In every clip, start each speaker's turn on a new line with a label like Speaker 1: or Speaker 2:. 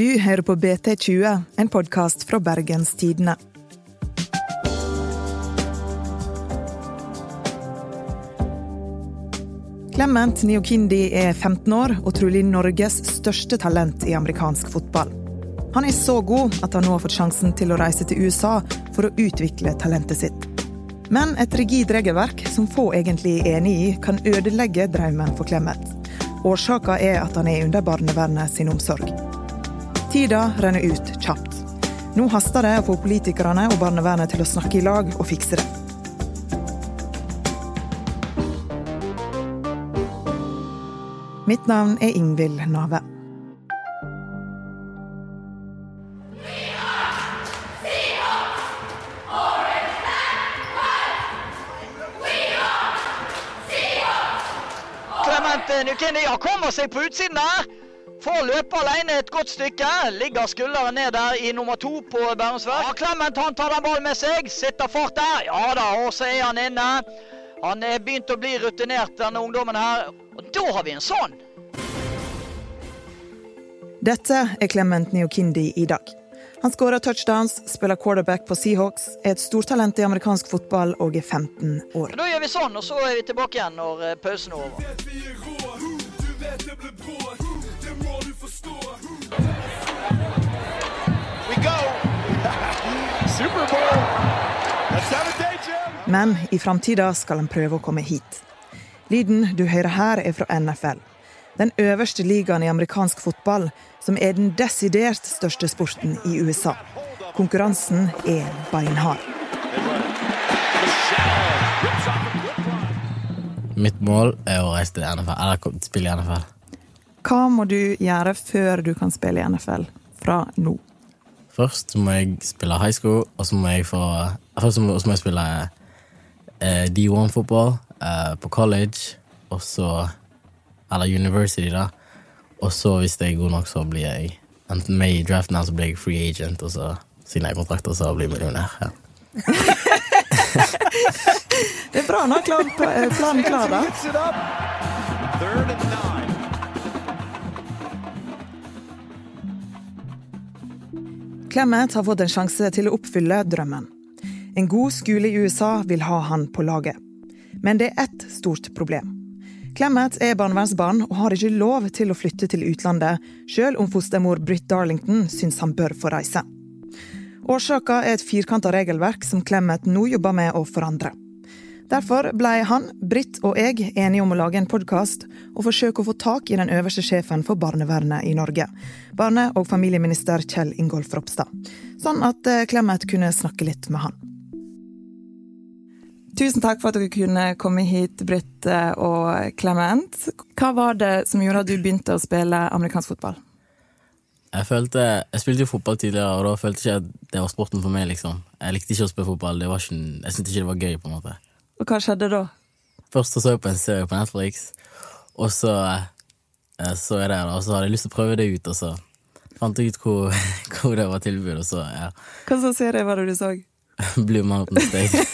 Speaker 1: Du hører på BT20, en podkast fra Bergens Tidende. Clement Neokindi er 15 år og trolig Norges største talent i amerikansk fotball. Han er så god at han nå har fått sjansen til å reise til USA for å utvikle talentet sitt. Men et rigid regelverk som få egentlig er enig i, kan ødelegge drømmen for Clement. Årsaka er at han er under barnevernet sin omsorg. Tida renner ut kjapt. Nå haster det å få politikerne og barnevernet til å snakke i lag og fikse det. Mitt navn er Ingvild Nave.
Speaker 2: Clement Nukini har kommet seg på utsiden der. Får løpe alene et godt stykke. Ligger skulderen ned der i nummer to på Bærumsverk. Ja, Clement han tar den ballen med seg. Sitter fort der. Ja da, og så er han inne. Han er begynt å bli rutinert, denne ungdommen her. Og da har vi en sånn!
Speaker 1: Dette er Clement Neokindi i dag. Han skårer touchdowns, spiller quarterback på Seahawks, er et stortalent i amerikansk fotball og er 15 år.
Speaker 2: Men da gjør vi sånn, og så er vi tilbake igjen når eh, pausen er over.
Speaker 3: vet vi er rå. Du vet det blir brå. Det må du forstå.
Speaker 4: we go. Super Bowl. Let's have a day, Jim.
Speaker 1: Men i framtida skal han prøve å komme hit. Lyden du hører her, er fra NFL. Den øverste ligaen i amerikansk fotball, som er den desidert største sporten i USA. Konkurransen er beinhard.
Speaker 5: Mitt mål er å reise til NFL, eller kom- spille i NFL.
Speaker 1: Hva må du gjøre før du kan spille i NFL? Fra nå.
Speaker 5: Først så må jeg spille high school, og så må jeg få Først så må, så må jeg spille eh, D1-fotball eh, på college, og så Eller university, da. Og så, hvis jeg er god nok, så blir jeg enten med i draften, eller så blir jeg free agent, og så siden jeg har kontrakt, og så blir jeg millionær. Ja.
Speaker 1: Det er bra, nå er klar- pla- eh, planen klar, da.
Speaker 4: Hits it up. Third and nine.
Speaker 1: Clement har fått en sjanse til å oppfylle drømmen. En god skole i USA vil ha han på laget. Men det er ett stort problem. Clement er barnevernsbarn og har ikke lov til å flytte til utlandet, selv om fostermor Britt Darlington syns han bør få reise. Årsaka er et firkanta regelverk som Clement nå jobber med å forandre. Derfor ble han, Britt og jeg enige om å lage en podkast og forsøke å få tak i den øverste sjefen for barnevernet i Norge, barne- og familieminister Kjell Ingolf Ropstad, sånn at eh, Clemet kunne snakke litt med han. Tusen takk for at dere kunne komme hit, Britt eh, og Clement. Hva var det som gjorde at du begynte å spille amerikansk fotball?
Speaker 5: Jeg følte, jeg spilte jo fotball tidligere, og da følte jeg ikke at det var sporten for meg. liksom. Jeg likte ikke å spille fotball. det var ikke, Jeg syntes ikke det var gøy. på en måte.
Speaker 1: Og hva skjedde da?
Speaker 5: Først så, så jeg på en serie på Netflix, og så eh, så jeg det, da, og så hadde jeg lyst til å prøve det ut, og så fant jeg ut hvor, hvor det var tilbud, og så ja,
Speaker 1: Hva slags serie var det du så?
Speaker 5: Blue Mountain State.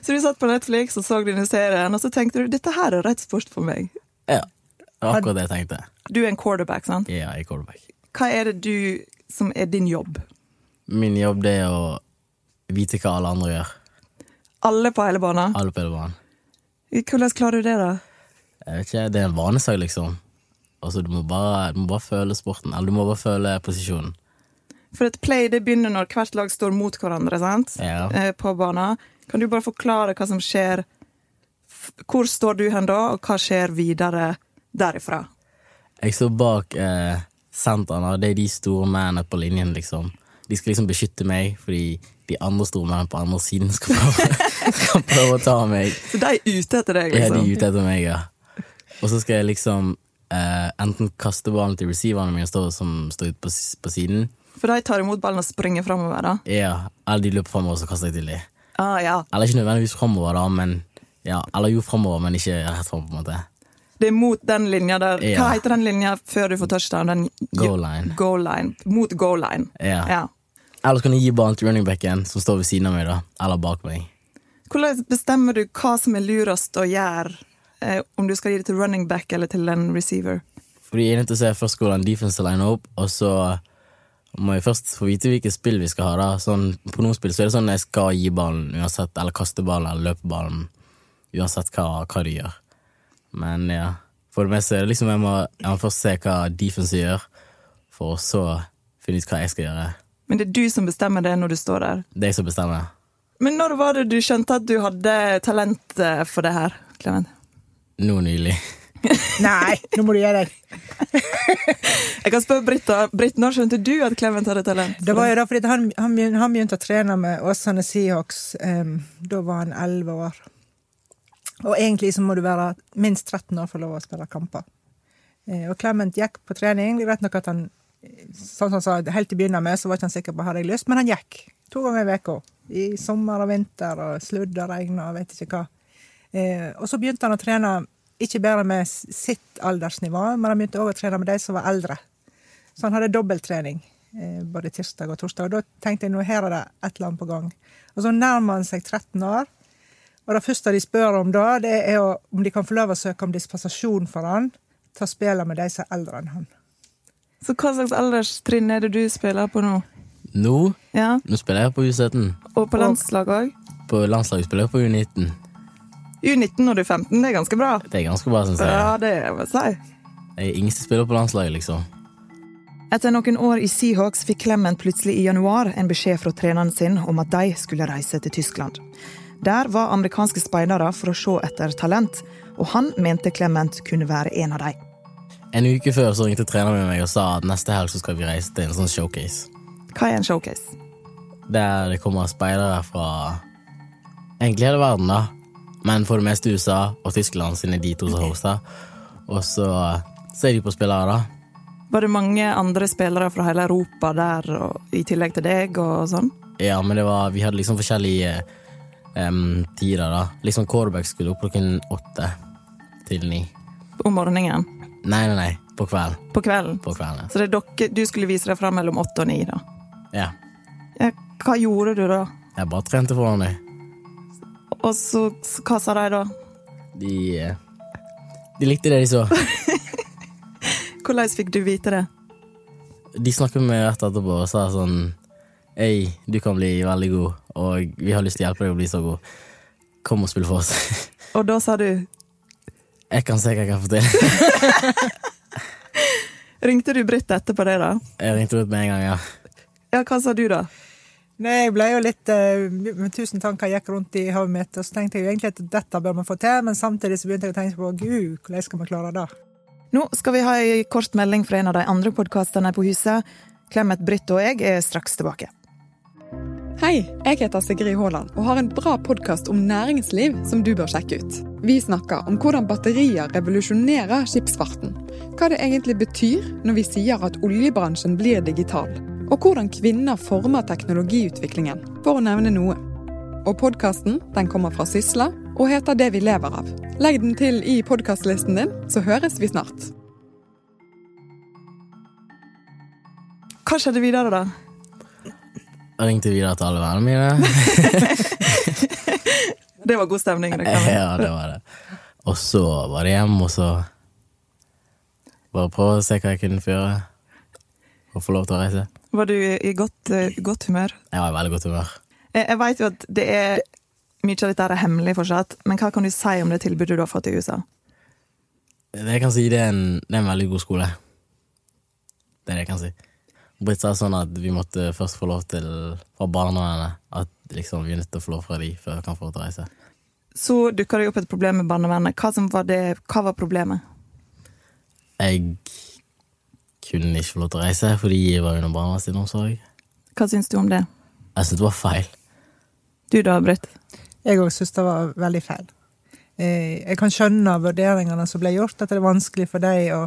Speaker 1: Så du satt på Netflix og så denne serien, og så tenkte du dette her er rett sport for meg.
Speaker 5: Ja, det var akkurat det jeg tenkte.
Speaker 1: Du er en quarterback, sant?
Speaker 5: Ja, jeg er quarterback.
Speaker 1: Hva er det du som er din jobb?
Speaker 5: Min jobb det er å vite hva alle andre gjør.
Speaker 1: Alle på hele banen.
Speaker 5: Alle på hele banen.
Speaker 1: Hvordan klarer du det, da?
Speaker 5: Jeg vet ikke, det er en vanesak, liksom. Altså, du må bare, du må bare føle sporten, eller du må bare føle posisjonen.
Speaker 1: For et play det begynner når hvert lag står mot hverandre sant?
Speaker 5: Ja.
Speaker 1: Eh, på banen. Kan du bare forklare hva som skjer? F- Hvor står du hen da, og hva skjer videre derifra?
Speaker 5: Jeg står bak eh, sentrene, og det er de store mennene på linjen, liksom. De skal liksom beskytte meg, fordi de andre store mennene på andre siden skal prøve, skal prøve å ta meg.
Speaker 1: Så de er ute etter deg,
Speaker 5: Ja, de
Speaker 1: liksom?
Speaker 5: er ute etter meg, ja. Og så skal jeg liksom eh, enten kaste ballen til receiverne mine står- som står ute på, s- på siden,
Speaker 1: For de tar imot ballen og springer framover, da?
Speaker 5: ja, eller de løper framover, så kaster jeg til dem.
Speaker 1: Ah, ja.
Speaker 5: Eller ikke nødvendigvis framover, da, men ja, eller jo framover, men ikke rett fram, på en måte.
Speaker 1: Det er mot den linja der.
Speaker 5: Ja.
Speaker 1: Hva heter den linja før du får touchdown? Den
Speaker 5: Goal line.
Speaker 1: Goal line. Mot goal line.
Speaker 5: Ja. Eller så kan jeg gi ballen til running backen, som står ved siden av meg, da, eller bak meg.
Speaker 1: Hvordan bestemmer du hva som er lurest å gjøre, eh, om du skal gi det til running back eller til en receiver?
Speaker 5: For Fordi jeg er nødt til å se først hvordan defense liner opp, og så må jeg først få vite hvilke spill vi skal ha. da sånn, På noen spill så er det sånn jeg skal gi ballen uansett, eller kaste ballen eller løpe ballen. Uansett hva, hva de gjør. Men ja, for det meste er det liksom jeg må, jeg må først se hva defense gjør, for så finne ut hva jeg skal gjøre.
Speaker 1: Men det er du som bestemmer det når du står der.
Speaker 5: Det er jeg som bestemmer.
Speaker 1: Men når var det du skjønte at du hadde talent eh, for det her, Clement?
Speaker 5: Nå nylig.
Speaker 6: Nei, nå må du gjøre deg.
Speaker 1: Jeg kan spørre Britt, da. Britt, når skjønte du at Clement hadde talent?
Speaker 6: Det var jo da fordi at han, han, begyn- han begynte å trene med Åsane Seahawks. em, da var han 11 år. Og egentlig så må du være minst 13 år for å lov å spille kamper. Eh, og Clement gikk på trening. Greit nok at han eh, sånn som han sa, helt til å begynne med så var ikke han sikker på hadde jeg lyst, men han gikk to ganger i uka. I sommer og vinter og sludd og regn og vet ikke hva. Eh, og så begynte han å trene ikke bare med s- sitt aldersnivå, men han begynte òg å trene med de som var eldre. Så han hadde dobbelttrening eh, både tirsdag og torsdag. Og da tenkte jeg nå her er det et eller annet på gang. Og så nærmer han seg 13 år. Og det første de spør om da, det er å- om de kan få lov å søke om dispensasjon for han til å spille med de som er eldre enn han.
Speaker 1: Så hva slags alderstrinn er det du spiller på nå?
Speaker 5: Nå,
Speaker 1: Ja,
Speaker 5: nå spiller jeg på U17.
Speaker 1: Og på landslag òg?
Speaker 5: På landslaget spiller jeg på U19.
Speaker 1: U19 når du er 15, det er ganske bra.
Speaker 5: Det er ganske bra, syns jeg.
Speaker 1: Ja, det må jeg si.
Speaker 5: Jeg er yngste spiller på landslaget, liksom.
Speaker 7: Etter noen år i Seahawks fikk Clement plutselig i januar en beskjed fra treneren sin om at de skulle reise til Tyskland. Der var amerikanske speidere for å se etter talent, og han mente Clement kunne være en av dem.
Speaker 5: En uke før så ringte treneren min meg og sa at neste helg så skal vi reise til en sånn showcase.
Speaker 7: Hva er en showcase?
Speaker 5: Der det kommer speidere fra egentlig hele verden, da. Men for det meste USA og Tyskland, siden det er de to som hoster. Og så ser de på spillere, da.
Speaker 1: Var det mange andre spillere fra hele Europa der, og, i tillegg til deg og sånn?
Speaker 5: Ja, men det var, vi hadde liksom forskjellige em, tider, da. Liksom quarterback skulle opp klokken åtte til ni.
Speaker 1: Om morgenen?
Speaker 5: Nei, nei, nei. På kvelden.
Speaker 1: På kvelden?
Speaker 5: På kvelden,
Speaker 1: Så det er dere, du skulle vise deg fram mellom åtte og ni, da.
Speaker 5: ja.
Speaker 1: Ja, hva gjorde du da?
Speaker 5: Jeg bare trente foran dem.
Speaker 1: Og så, så hva sa de da?
Speaker 5: De, eh, de likte det de så.
Speaker 1: Hvordan fikk du vite det?
Speaker 5: De snakket med meg rett etterpå og sa sånn Hei, du kan bli veldig god, og vi har lyst til å hjelpe deg å bli så god. Kom og spill for oss.
Speaker 1: Og da sa du
Speaker 5: Jeg kan se hva jeg kan få til.
Speaker 1: Ringte du Britt etterpå det, da?
Speaker 5: Jeg ringte ut med en gang, ja.
Speaker 1: Ja, hva sa du da?
Speaker 6: Nei, jeg ble jo litt eh, med tusen tanker gikk rundt i hodet mitt, og så tenkte jeg jo egentlig at dette bør man få til, men samtidig så begynte jeg å tenke på gud, hvordan skal man klare det?
Speaker 7: Nå skal vi ha ei kort melding fra en av de andre podkastene på huset. Clement, Britt og jeg er straks tilbake.
Speaker 8: Hei, jeg heter Sigrid Haaland og har en bra podkast om næringsliv som du bør sjekke ut. Vi snakker om hvordan batterier revolusjonerer skipsfarten, hva det egentlig betyr når vi sier at oljebransjen blir digital, og hvordan kvinner former teknologiutviklingen, for å nevne noe. Og podkasten kommer fra Sysla og heter Det vi lever av. Legg den til i podkastlisten din, så høres vi snart.
Speaker 1: Hva skjedde videre, da?
Speaker 5: Jeg ringte videre til alle vennene mine.
Speaker 1: Det var god stemning. det kan jeg.
Speaker 5: Ja, det var det. Og så var det hjem, og så Bare prøve å se hva jeg kunne få gjøre. Og få lov til å reise.
Speaker 1: Var du i godt, eh, godt humør?
Speaker 5: Jeg var i veldig godt humør.
Speaker 1: Eh, Jeg, jeg vet jo at det er mye av dette her er hemmelig fortsatt, men hva kan du si om det tilbudet du har fått i USA?
Speaker 5: Det jeg kan si, det er en, det er en veldig god skole. Det er det jeg kan si. Britt sa sånn at vi måtte først få lov til fra barnevernet at liksom vi er nødt til å få lov fra de før vi kan få lov til å reise.
Speaker 1: Så dukka det jo opp et problem med barnevernet. Hva, som var, det, hva var problemet?
Speaker 5: Jeg kunne ikke få lov til å reise fordi jeg var under barnevernets omsorg.
Speaker 1: Hva syns du om det?
Speaker 5: Jeg syntes det var feil.
Speaker 1: Du da, Britt?
Speaker 6: Jeg òg syns det var veldig feil. Eh, Jeg kan skjønne av vurderingene som ble gjort, at det er vanskelig for dem å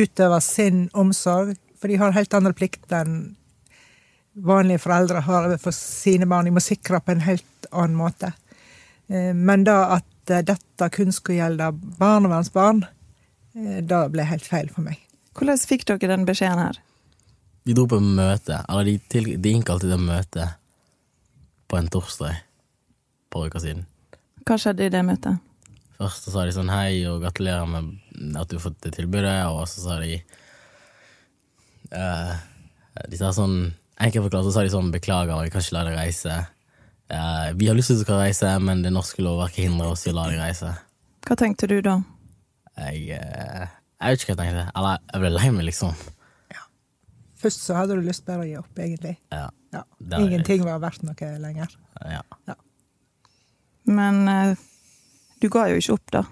Speaker 6: utøve sin omsorg, for de har helt andre plikter enn vanlige foreldre har overfor sine barn. De må sikre på en helt annen måte. Eh, Men da at eh, dette kun skulle gjelde barnevernsbarn, eh, det ble helt feil for meg.
Speaker 1: Hvordan fikk dere den beskjeden her?
Speaker 5: Vi dro på et møte, eller de, til, de innkalte til et møte på en torsdag for uker siden.
Speaker 1: Hva skjedde i det møtet?
Speaker 5: Først så sa de sånn hei og gratulerer med at du har fått det tilbudet, og så sa de eh, De sa sånn Enkelt forklart så sa de sånn beklager, vi kan ikke la deg reise. Eh, vi har lyst til at du skal reise, men det norske lovverket hindrer oss i å la deg reise.
Speaker 1: Hva tenkte du da?
Speaker 5: Jeg, eh, jeg vet ikke hva jeg tenkte. Eller jeg ble lei meg, liksom.
Speaker 6: Først så hadde du lyst bare å gi opp, egentlig.
Speaker 5: Ja.
Speaker 6: Ja.
Speaker 5: Det er det.
Speaker 6: Ingenting var verdt noe lenger.
Speaker 5: ja.
Speaker 6: Ja.
Speaker 1: Men eh, du ga jo ikke opp, da.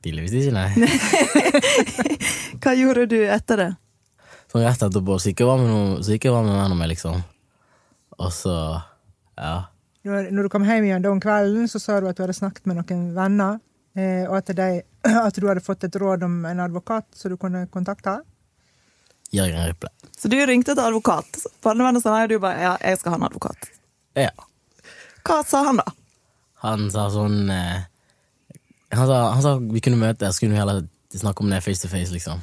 Speaker 5: Tydeligvis ikke, nei.
Speaker 1: Hva gjorde du etter det?
Speaker 5: Sånn rett etterpå så gikk jeg og var med noen, så gikk jeg og var med vennene mine, liksom. Og så Ja.
Speaker 6: Når, når du kom hjem igjen da om kvelden, så sa du at du hadde snakket med noen venner, eh, og at, de, at du hadde fått et råd om en advokat som du kunne kontakte.
Speaker 5: Jørgen Riple.
Speaker 1: Så du ringte til advokat. Barnevernet sa nei, og du bare ja, jeg skal ha en advokat.
Speaker 5: Ja.
Speaker 1: Hva sa han da?
Speaker 5: Han sa sånn eh, han, sa, han sa vi kunne møtes, så kunne vi heller snakke om det face to face, liksom.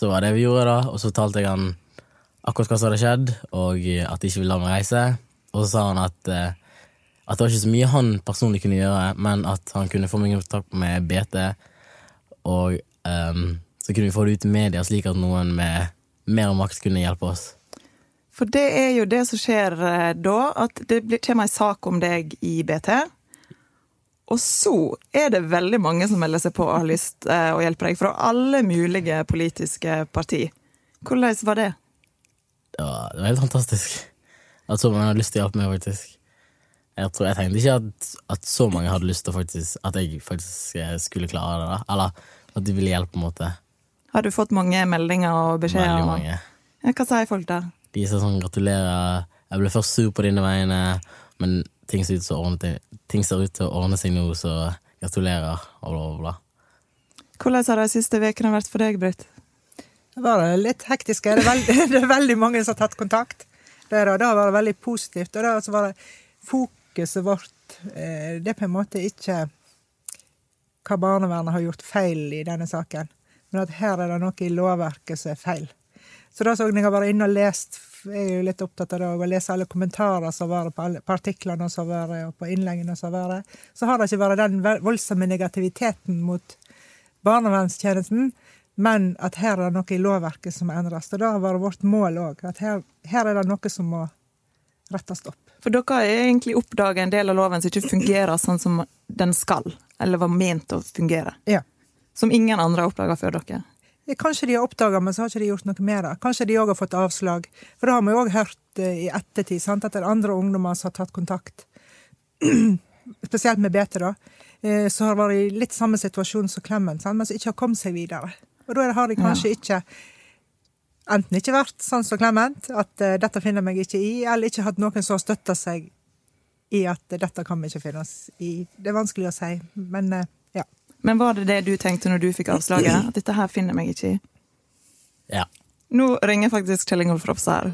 Speaker 5: Så var det vi gjorde, da. Og så talte jeg han akkurat hva som hadde skjedd, og at de ikke ville la meg reise. Og så sa han at, eh, at det var ikke så mye han personlig kunne gjøre, men at han kunne få meg i kontakt med BT, og ehm, så kunne vi få det ut i media, slik at noen med mer makt kunne hjelpe oss.
Speaker 1: For det er jo det som skjer eh, da, at det blir, kommer en sak om deg i BT. Og så er det veldig mange som melder seg på og har lyst eh, å hjelpe deg, fra alle mulige politiske parti. Hvordan var det?
Speaker 5: det var, det var helt fantastisk. At så mange hadde lyst til å hjelpe meg, faktisk. Jeg tror jeg tenkte ikke at, at så mange hadde lyst til å faktisk, at jeg faktisk eh, skulle klare det. da. Eller at de ville hjelpe, på en måte.
Speaker 1: Har du fått mange meldinger og beskjeder?
Speaker 5: Veldig mange.
Speaker 1: Ja, hva sier folk da?
Speaker 5: De sa sånn 'gratulerer', 'jeg ble først sur på dine vegne', men ting ser ut til å ordne, ting ser ut til å ordne seg nå, så gratulerer, og bla, bla, bla.
Speaker 1: Hvordan har de siste ukene vært for deg, Britt?
Speaker 6: Det var litt hektisk. Det er veldig, det er veldig mange som har tatt kontakt. Det, da, det var veldig positivt. Og det var så var det fokuset vårt eh, Det er på en måte ikke hva barnevernet har gjort feil i denne saken, men at her er det noe i lovverket som er feil. Så da så jeg når jeg var inne og lest Jeg er jo litt opptatt av det, å lese alle kommentarer som var det på alle på artiklene som var det, og på innleggene som var det. Så har det ikke vært den vel- voldsomme negativiteten mot barnevernstjenesten, men at her er det noe i lovverket som må endres. Og det har vært vårt mål òg. At her, her er det noe som må rettes opp.
Speaker 1: For dere har egentlig oppdaget en del av loven som ikke fungerer sånn som den skal, eller var ment å fungere.
Speaker 6: Ja.
Speaker 1: Som ingen andre har oppdaget før dere.
Speaker 6: Ja, Kanskje de har oppdaga, men så har ikke de gjort noe med det. Kanskje de òg har fått avslag. For det har vi òg hørt eh, i ettertid, sant? at det er andre ungdommer som har tatt kontakt. Spesielt med BT, da. eh, Som har vært i litt samme situasjon som Klemmen, sant? men som ikke har kommet seg videre. Og da er det- har de kanskje ikke enten ikke vært sånn som Clement, at eh, dette finner meg ikke i, eller ikke hatt noen som har støtta seg i at eh, dette kan vi ikke finne oss i. Det er vanskelig å si, men eh, ja.
Speaker 1: Men var det det du tenkte når du fikk avslaget? At dette her finner meg ikke i?
Speaker 5: Ja.
Speaker 1: Nå ringer faktisk Kjell Ingolf Ropstad her.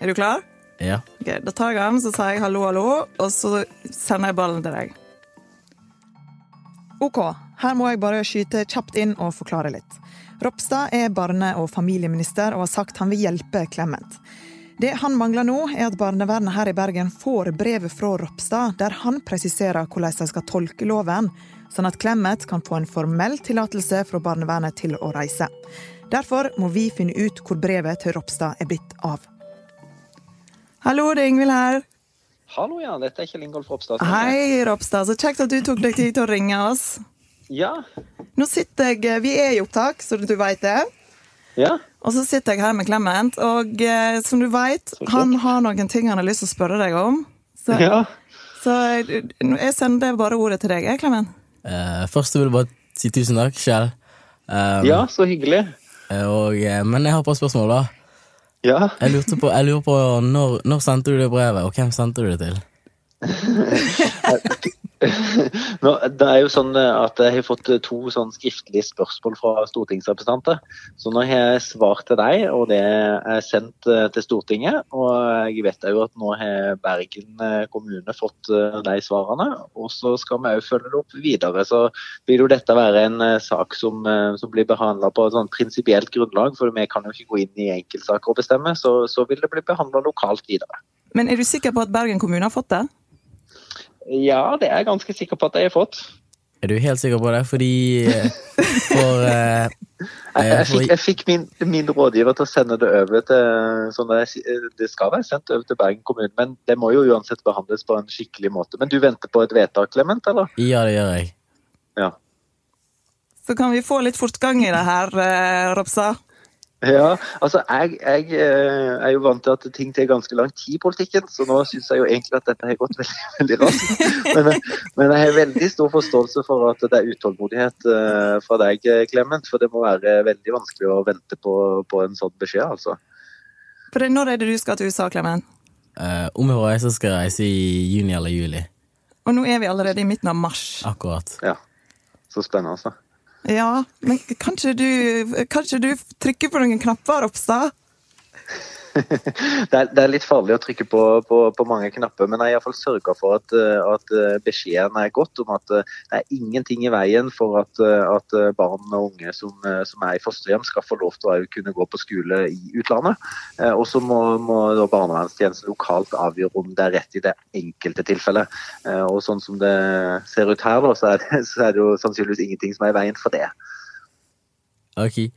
Speaker 1: Er du klar?
Speaker 5: Ja.
Speaker 1: Ok, Da tar jeg han, så sier jeg hallo, hallo, og så sender jeg ballen til deg.
Speaker 7: Ok, her må jeg bare skyte kjapt inn og forklare litt. Ropstad er barne- og familieminister og har sagt han vil hjelpe Clement. Det han mangler nå, er at barnevernet her i Bergen får brevet fra Ropstad, der han presiserer hvordan de skal tolke loven, sånn at Clement kan få en formell tillatelse fra barnevernet til å reise. Derfor må vi finne ut hvor brevet til Ropstad er blitt av.
Speaker 1: Hallo, det er Ingvild her.
Speaker 9: Hallo, ja. Dette er Kjell Ingolf Ropstad.
Speaker 1: Hei, Ropstad. Så kjekt at du tok deg tid til å ringe oss.
Speaker 9: Ja.
Speaker 1: Nå sitter jeg, eh, Vi er i opptak, så du veit det.
Speaker 9: ja.
Speaker 1: Og så sitter jeg her med Clement, og eh, som du veit, han har noen ting han har lyst til å spørre deg om. Så,
Speaker 9: Ja.
Speaker 1: så jeg, jeg sender bare ordet til deg, jeg, Clement.
Speaker 5: Eh, først vil jeg bare si tusen takk, Kjell. Eh,
Speaker 9: Ja, så hyggelig.
Speaker 5: og, eh, men jeg har et par spørsmål, da.
Speaker 9: Ja.
Speaker 5: Jeg lurte på, jeg lurer på når, når sendte du det brevet, og hvem sendte du det til?
Speaker 9: Nå, det er jo sånn eh, at jeg har fått eh, to sånn skriftlige spørsmål fra stortingsrepresentanter. Så nå har jeg svar til deg, og det er sendt eh, til Stortinget. Og jeg vet jo at nå har Bergen eh, kommune fått eh, de svarene. Og så skal vi òg følge det opp videre. Så vil jo dette være en eh, sak som, eh, som blir behandla på et sånn prinsipielt grunnlag, for vi kan jo ikke gå inn i enkeltsaker og bestemme. Så, så vil det bli behandla lokalt videre.
Speaker 1: Men er du sikker på at Bergen kommune har fått det?
Speaker 9: Ja, det er jeg ganske sikker på at jeg har fått.
Speaker 5: Er du helt sikker på det? Fordi eh, for, eh,
Speaker 9: Jeg,
Speaker 5: eh,
Speaker 9: jeg fikk,
Speaker 5: for
Speaker 9: jeg fikk min, min rådgiver til å sende det over til sånn det, det skal være sendt over til Bergen kommune, men det må jo uansett behandles på en skikkelig måte. Men du venter på et vedtak, Clement, eller?
Speaker 5: Ja, det gjør jeg.
Speaker 9: Ja.
Speaker 1: Så kan vi få litt fortgang i det her, eh, Ropstad.
Speaker 9: Ja, altså jeg, jeg eh, er jo vant til at ting tar ganske lang tid i politikken, så nå syns jeg jo egentlig at dette har gått veldig, veldig raskt. Men, eh, men jeg har veldig stor forståelse for at det er utålmodighet eh, fra deg, eh, Clement. For det må være veldig vanskelig å vente på, på en sånn beskjed, altså.
Speaker 1: For det- når er det du skal til USA, Clement?
Speaker 5: Eh, om jeg reiser, skal jeg reise i juni eller juli.
Speaker 1: Og nå er vi allerede i midten av mars.
Speaker 5: Akkurat.
Speaker 9: Ja. Så spennende, altså.
Speaker 1: Ja, men kan ikke du, kan ikke du trykke på noen knapper, Ropstad?
Speaker 9: Det er, det er litt farlig å trykke på, på, på mange knapper, men jeg har iallfall sørga for at, eh, at eh, beskjeden er godt om at eh, det er ingenting i veien for at, eh, at eh, barn og unge som, eh, som er i fosterhjem skal få lov til å kunne gå på skole i utlandet. Eh, Og så må, må da barnevernstjenesten lokalt avgjøre om det er rett i det enkelte tilfellet. Eh, Og sånn som det ser ut her, da, så er det, så er det jo sannsynligvis ingenting som er i veien for det.
Speaker 5: Ok.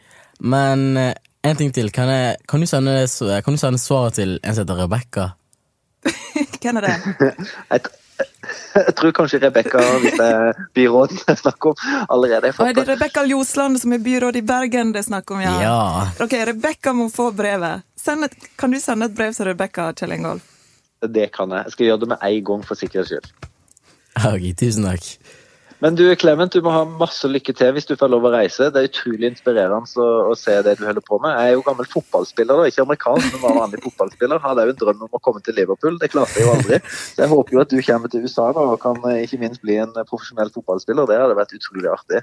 Speaker 5: Men eh, en ting til. Kan, jeg, kan, du sende, s- kan du sende svaret til en som heter Rebekka?
Speaker 1: Hvem er det?
Speaker 9: Jeg, t- jeg tror kanskje Rebekka, hvis det er byråden jeg snakker om, allerede
Speaker 1: Og
Speaker 9: har
Speaker 1: er
Speaker 9: fått
Speaker 1: det Rebekka Ljosland som er byråd i Bergen det er snakk om? Ja.
Speaker 5: Ja.
Speaker 1: Ok, Rebekka må få brevet. Send et, kan du sende et brev til Rebekka, Kjell Ingolf?
Speaker 9: Det kan jeg. Jeg skal gjøre det med en gang for sikkerhets skyld.
Speaker 5: Ok, tusen takk.
Speaker 9: Men du Clement, du må ha masse lykke til hvis du får lov å reise. Det er utrolig inspirerende å, å se det du holder på med. Jeg er jo gammel fotballspiller, da. ikke amerikansk, men var vanlig fotballspiller. Hadde jo en drøm om å komme til Liverpool, det klarte jeg jo aldri. Så jeg håper jo at du kommer til USA da, og kan eh, ikke minst bli en eh, profesjonell fotballspiller. Det hadde vært utrolig artig.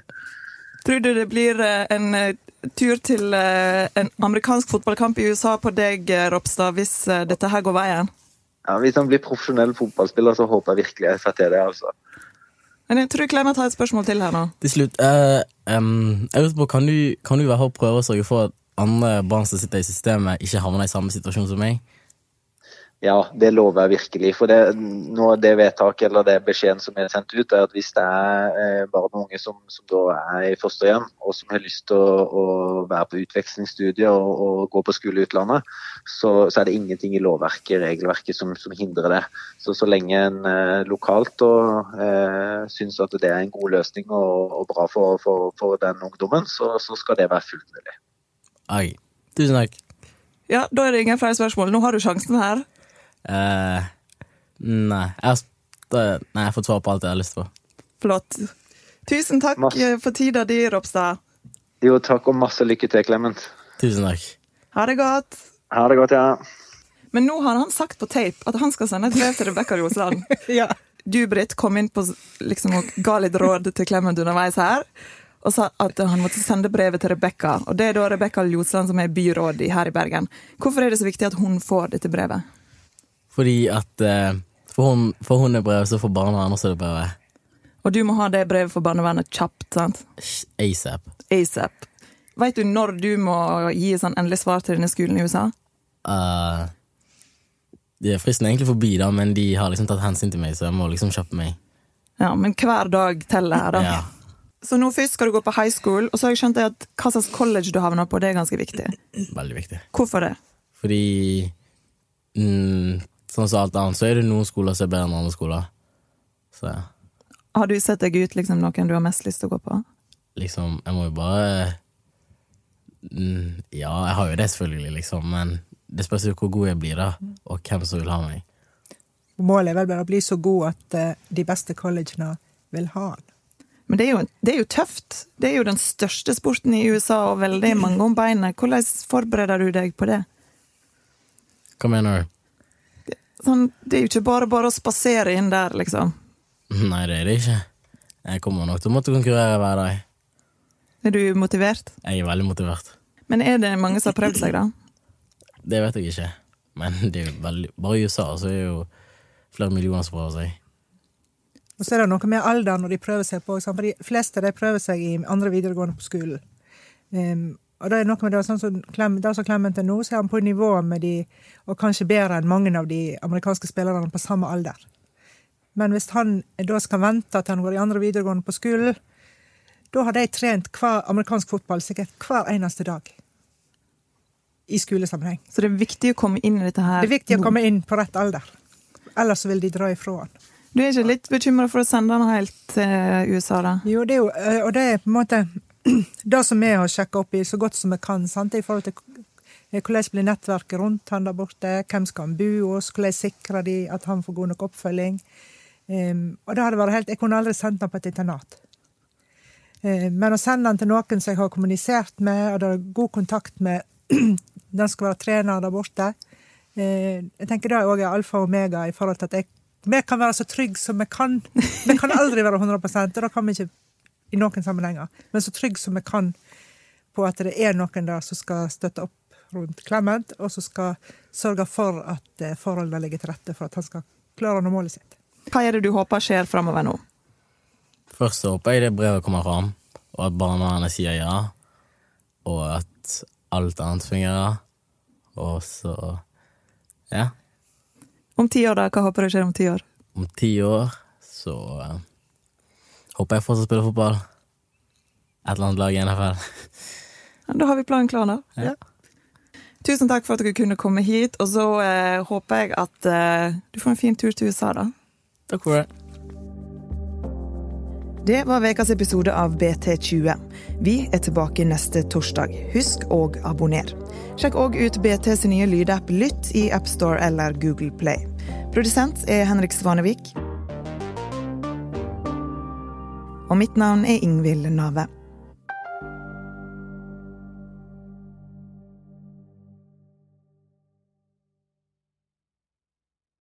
Speaker 1: Tror du det blir eh, en eh, tur til eh, en amerikansk fotballkamp i USA på deg, eh, Ropstad, hvis eh, dette her går veien?
Speaker 9: Ja, hvis han blir profesjonell fotballspiller, så håper jeg virkelig jeg får til det. altså.
Speaker 1: Men jeg tror Clement har et spørsmål til her nå.
Speaker 5: Til slutt, eh, em, jeg lurer på, kan du, kan du i hvert fall prøve å sørge for at andre barn som sitter i systemet, ikke havner i samme situasjon som meg?
Speaker 9: Ja, det lover jeg virkelig. For det, nå det vedtaket eller det beskjeden som er sendt ut, er at hvis det er eh, barn og unge som, som da er i fosterhjem, og som har lyst til å, å være på utvekslingsstudier og, og gå på skole i utlandet, så, så er det ingenting i lovverket, regelverket, som, som hindrer det. Så så lenge en eh, lokalt da, eh, syns at det er en god løsning og, og bra for, for, for den ungdommen, så, så skal det være fullt mulig.
Speaker 5: Ok, tusen takk.
Speaker 1: Ja, Da er det ingen flere spørsmål. Nå har du sjansen her.
Speaker 5: Eh, nei, jeg har, sp- eh, nei, jeg har fått svar på alt jeg har lyst på.
Speaker 1: Flott. Tusen takk
Speaker 9: Masse.
Speaker 1: eh, for tida di, Ropstad.
Speaker 9: Jo, takk og masse lykke til, Clement.
Speaker 5: Tusen takk.
Speaker 1: Ha det godt.
Speaker 9: Ha det godt, ja.
Speaker 1: Men nå har han sagt på tape at han skal sende et brev til Rebekka Ljosland.
Speaker 6: Ja.
Speaker 1: Du, Britt, kom inn på, s- liksom, og ga litt råd til Clement underveis her. Og sa at han måtte sende brevet til Rebekka. Og det er da Rebekka Ljosland som er byråd i- her i Bergen. Hvorfor er det så viktig at hun får dette brevet?
Speaker 5: Fordi at eh, for, hun, for hun er brevet, så får barnevernet også det brevet.
Speaker 1: Og du må ha det brevet for barnevernet kjapt, sant?
Speaker 5: ASAP.
Speaker 1: ASAP. Veit du når du må gi sånn endelig svar til denne skolen i USA?
Speaker 5: Eh, det- fristen er egentlig forbi, da, men de har liksom tatt hensyn til meg, så jeg må liksom kjappe meg.
Speaker 1: Ja, men hver dag teller her, da.
Speaker 5: Ja.
Speaker 1: Så nå først skal du gå på high school, og så har jeg skjønt det at hva slags college du havner på, det er ganske viktig.
Speaker 5: Veldig viktig.
Speaker 1: Hvorfor det?
Speaker 5: Fordi mm, Sånn som alt annet, så er det noen skoler som er bedre enn andre skoler. Så
Speaker 1: Har du sett deg ut liksom noen du har mest lyst til å gå på?
Speaker 5: liksom, jeg må jo bare mm, Ja, jeg har jo det, selvfølgelig, liksom, men det spørs jo hvor god jeg blir, da, og hvem som vil ha meg.
Speaker 6: Målet er vel bare å bli så god at eh, de beste collegene vil ha han.
Speaker 1: Men det er, jo, det er jo tøft. Det er jo den største sporten i USA, og veldig mange om beinet. Hvordan forbereder du deg på det?
Speaker 5: Hva mener du?
Speaker 1: Sånn, det er jo ikke bare bare å spasere inn der, liksom.
Speaker 5: Nei, det er det ikke. Jeg kommer nok til å måtte konkurrere hver dag.
Speaker 1: Er du motivert?
Speaker 5: Jeg er veldig motivert.
Speaker 1: Men er det mange som har prøvd seg, da?
Speaker 5: Det vet jeg ikke, men det er jo veldig Bare i USA så er det jo flere millioner som prøver seg.
Speaker 6: Og så er det noe med alder når de prøver seg på. ikke sant? For de fleste de prøver seg i andre videregående på skolen. Ehm, og det er noe med det, sånn som Clem, det som Clement er nå, så er han på nivå med de, og kanskje bedre enn mange av de amerikanske spillerne på samme alder. Men hvis han da skal vente til han går i andre videregående på skolen, da har de trent hver amerikansk fotball sikkert hver eneste dag. I skolesammenheng.
Speaker 1: Så det er viktig å komme inn i dette her.
Speaker 6: Det er viktig å
Speaker 1: nå.
Speaker 6: komme inn på rett alder. Ellers så vil de dra ifra han.
Speaker 1: Du er ikke litt bekymra for å sende han helt til USA, da?
Speaker 6: Jo, det er jo, eh, og det er på en måte det som vi har sjekka opp i så godt som vi kan, sant? i forhold til eh, hvordan blir nettverket rundt han der borte, hvem skal han bo hos, hvordan sikrer de at han får god nok oppfølging. Em, og det hadde vært helt, Jeg kunne aldri sendt han på et internat. Eh, men å sende han til noen som jeg har kommunisert med, og det er god kontakt med, den skal være trener der borte eh, Jeg tenker det òg er alfa og omega i forhold til at jeg, vi kan være så trygge som vi kan. Vi kan aldri være 100 og det kan vi ikke i noen sammenhenger. Men så trygg som vi kan på at det er noen der som skal støtte opp rundt Clement, og som skal sørge for at eh, forholdene ligger til rette for at han skal klare å nå målet sitt.
Speaker 1: Hva er det du håper skjer framover nå?
Speaker 5: Først så håper jeg det brevet kommer fram, og at barnevernet sier ja, og at alt annet fungerer. Og så Ja.
Speaker 1: Om ti år, da? Hva håper du skjer om ti år?
Speaker 5: Om ti år så eh, håper jeg fortsatt spiller fotball. Et eller annet lag i NFL.
Speaker 1: Ja, Da har vi planen klar, da.
Speaker 5: Ja.
Speaker 1: Tusen takk for at dere kunne komme hit, og så eh, håper jeg at eh, du får en fin tur til USA, da.
Speaker 5: Takk for det.
Speaker 7: Det var ukas episode av BT20. Vi er tilbake neste torsdag. Husk å abonnere. Sjekk òg ut BT sin nye lydapp Lytt i AppStore eller Google Play. Produsent er Henrik Svanevik. Og mitt navn er Ingvild Nave.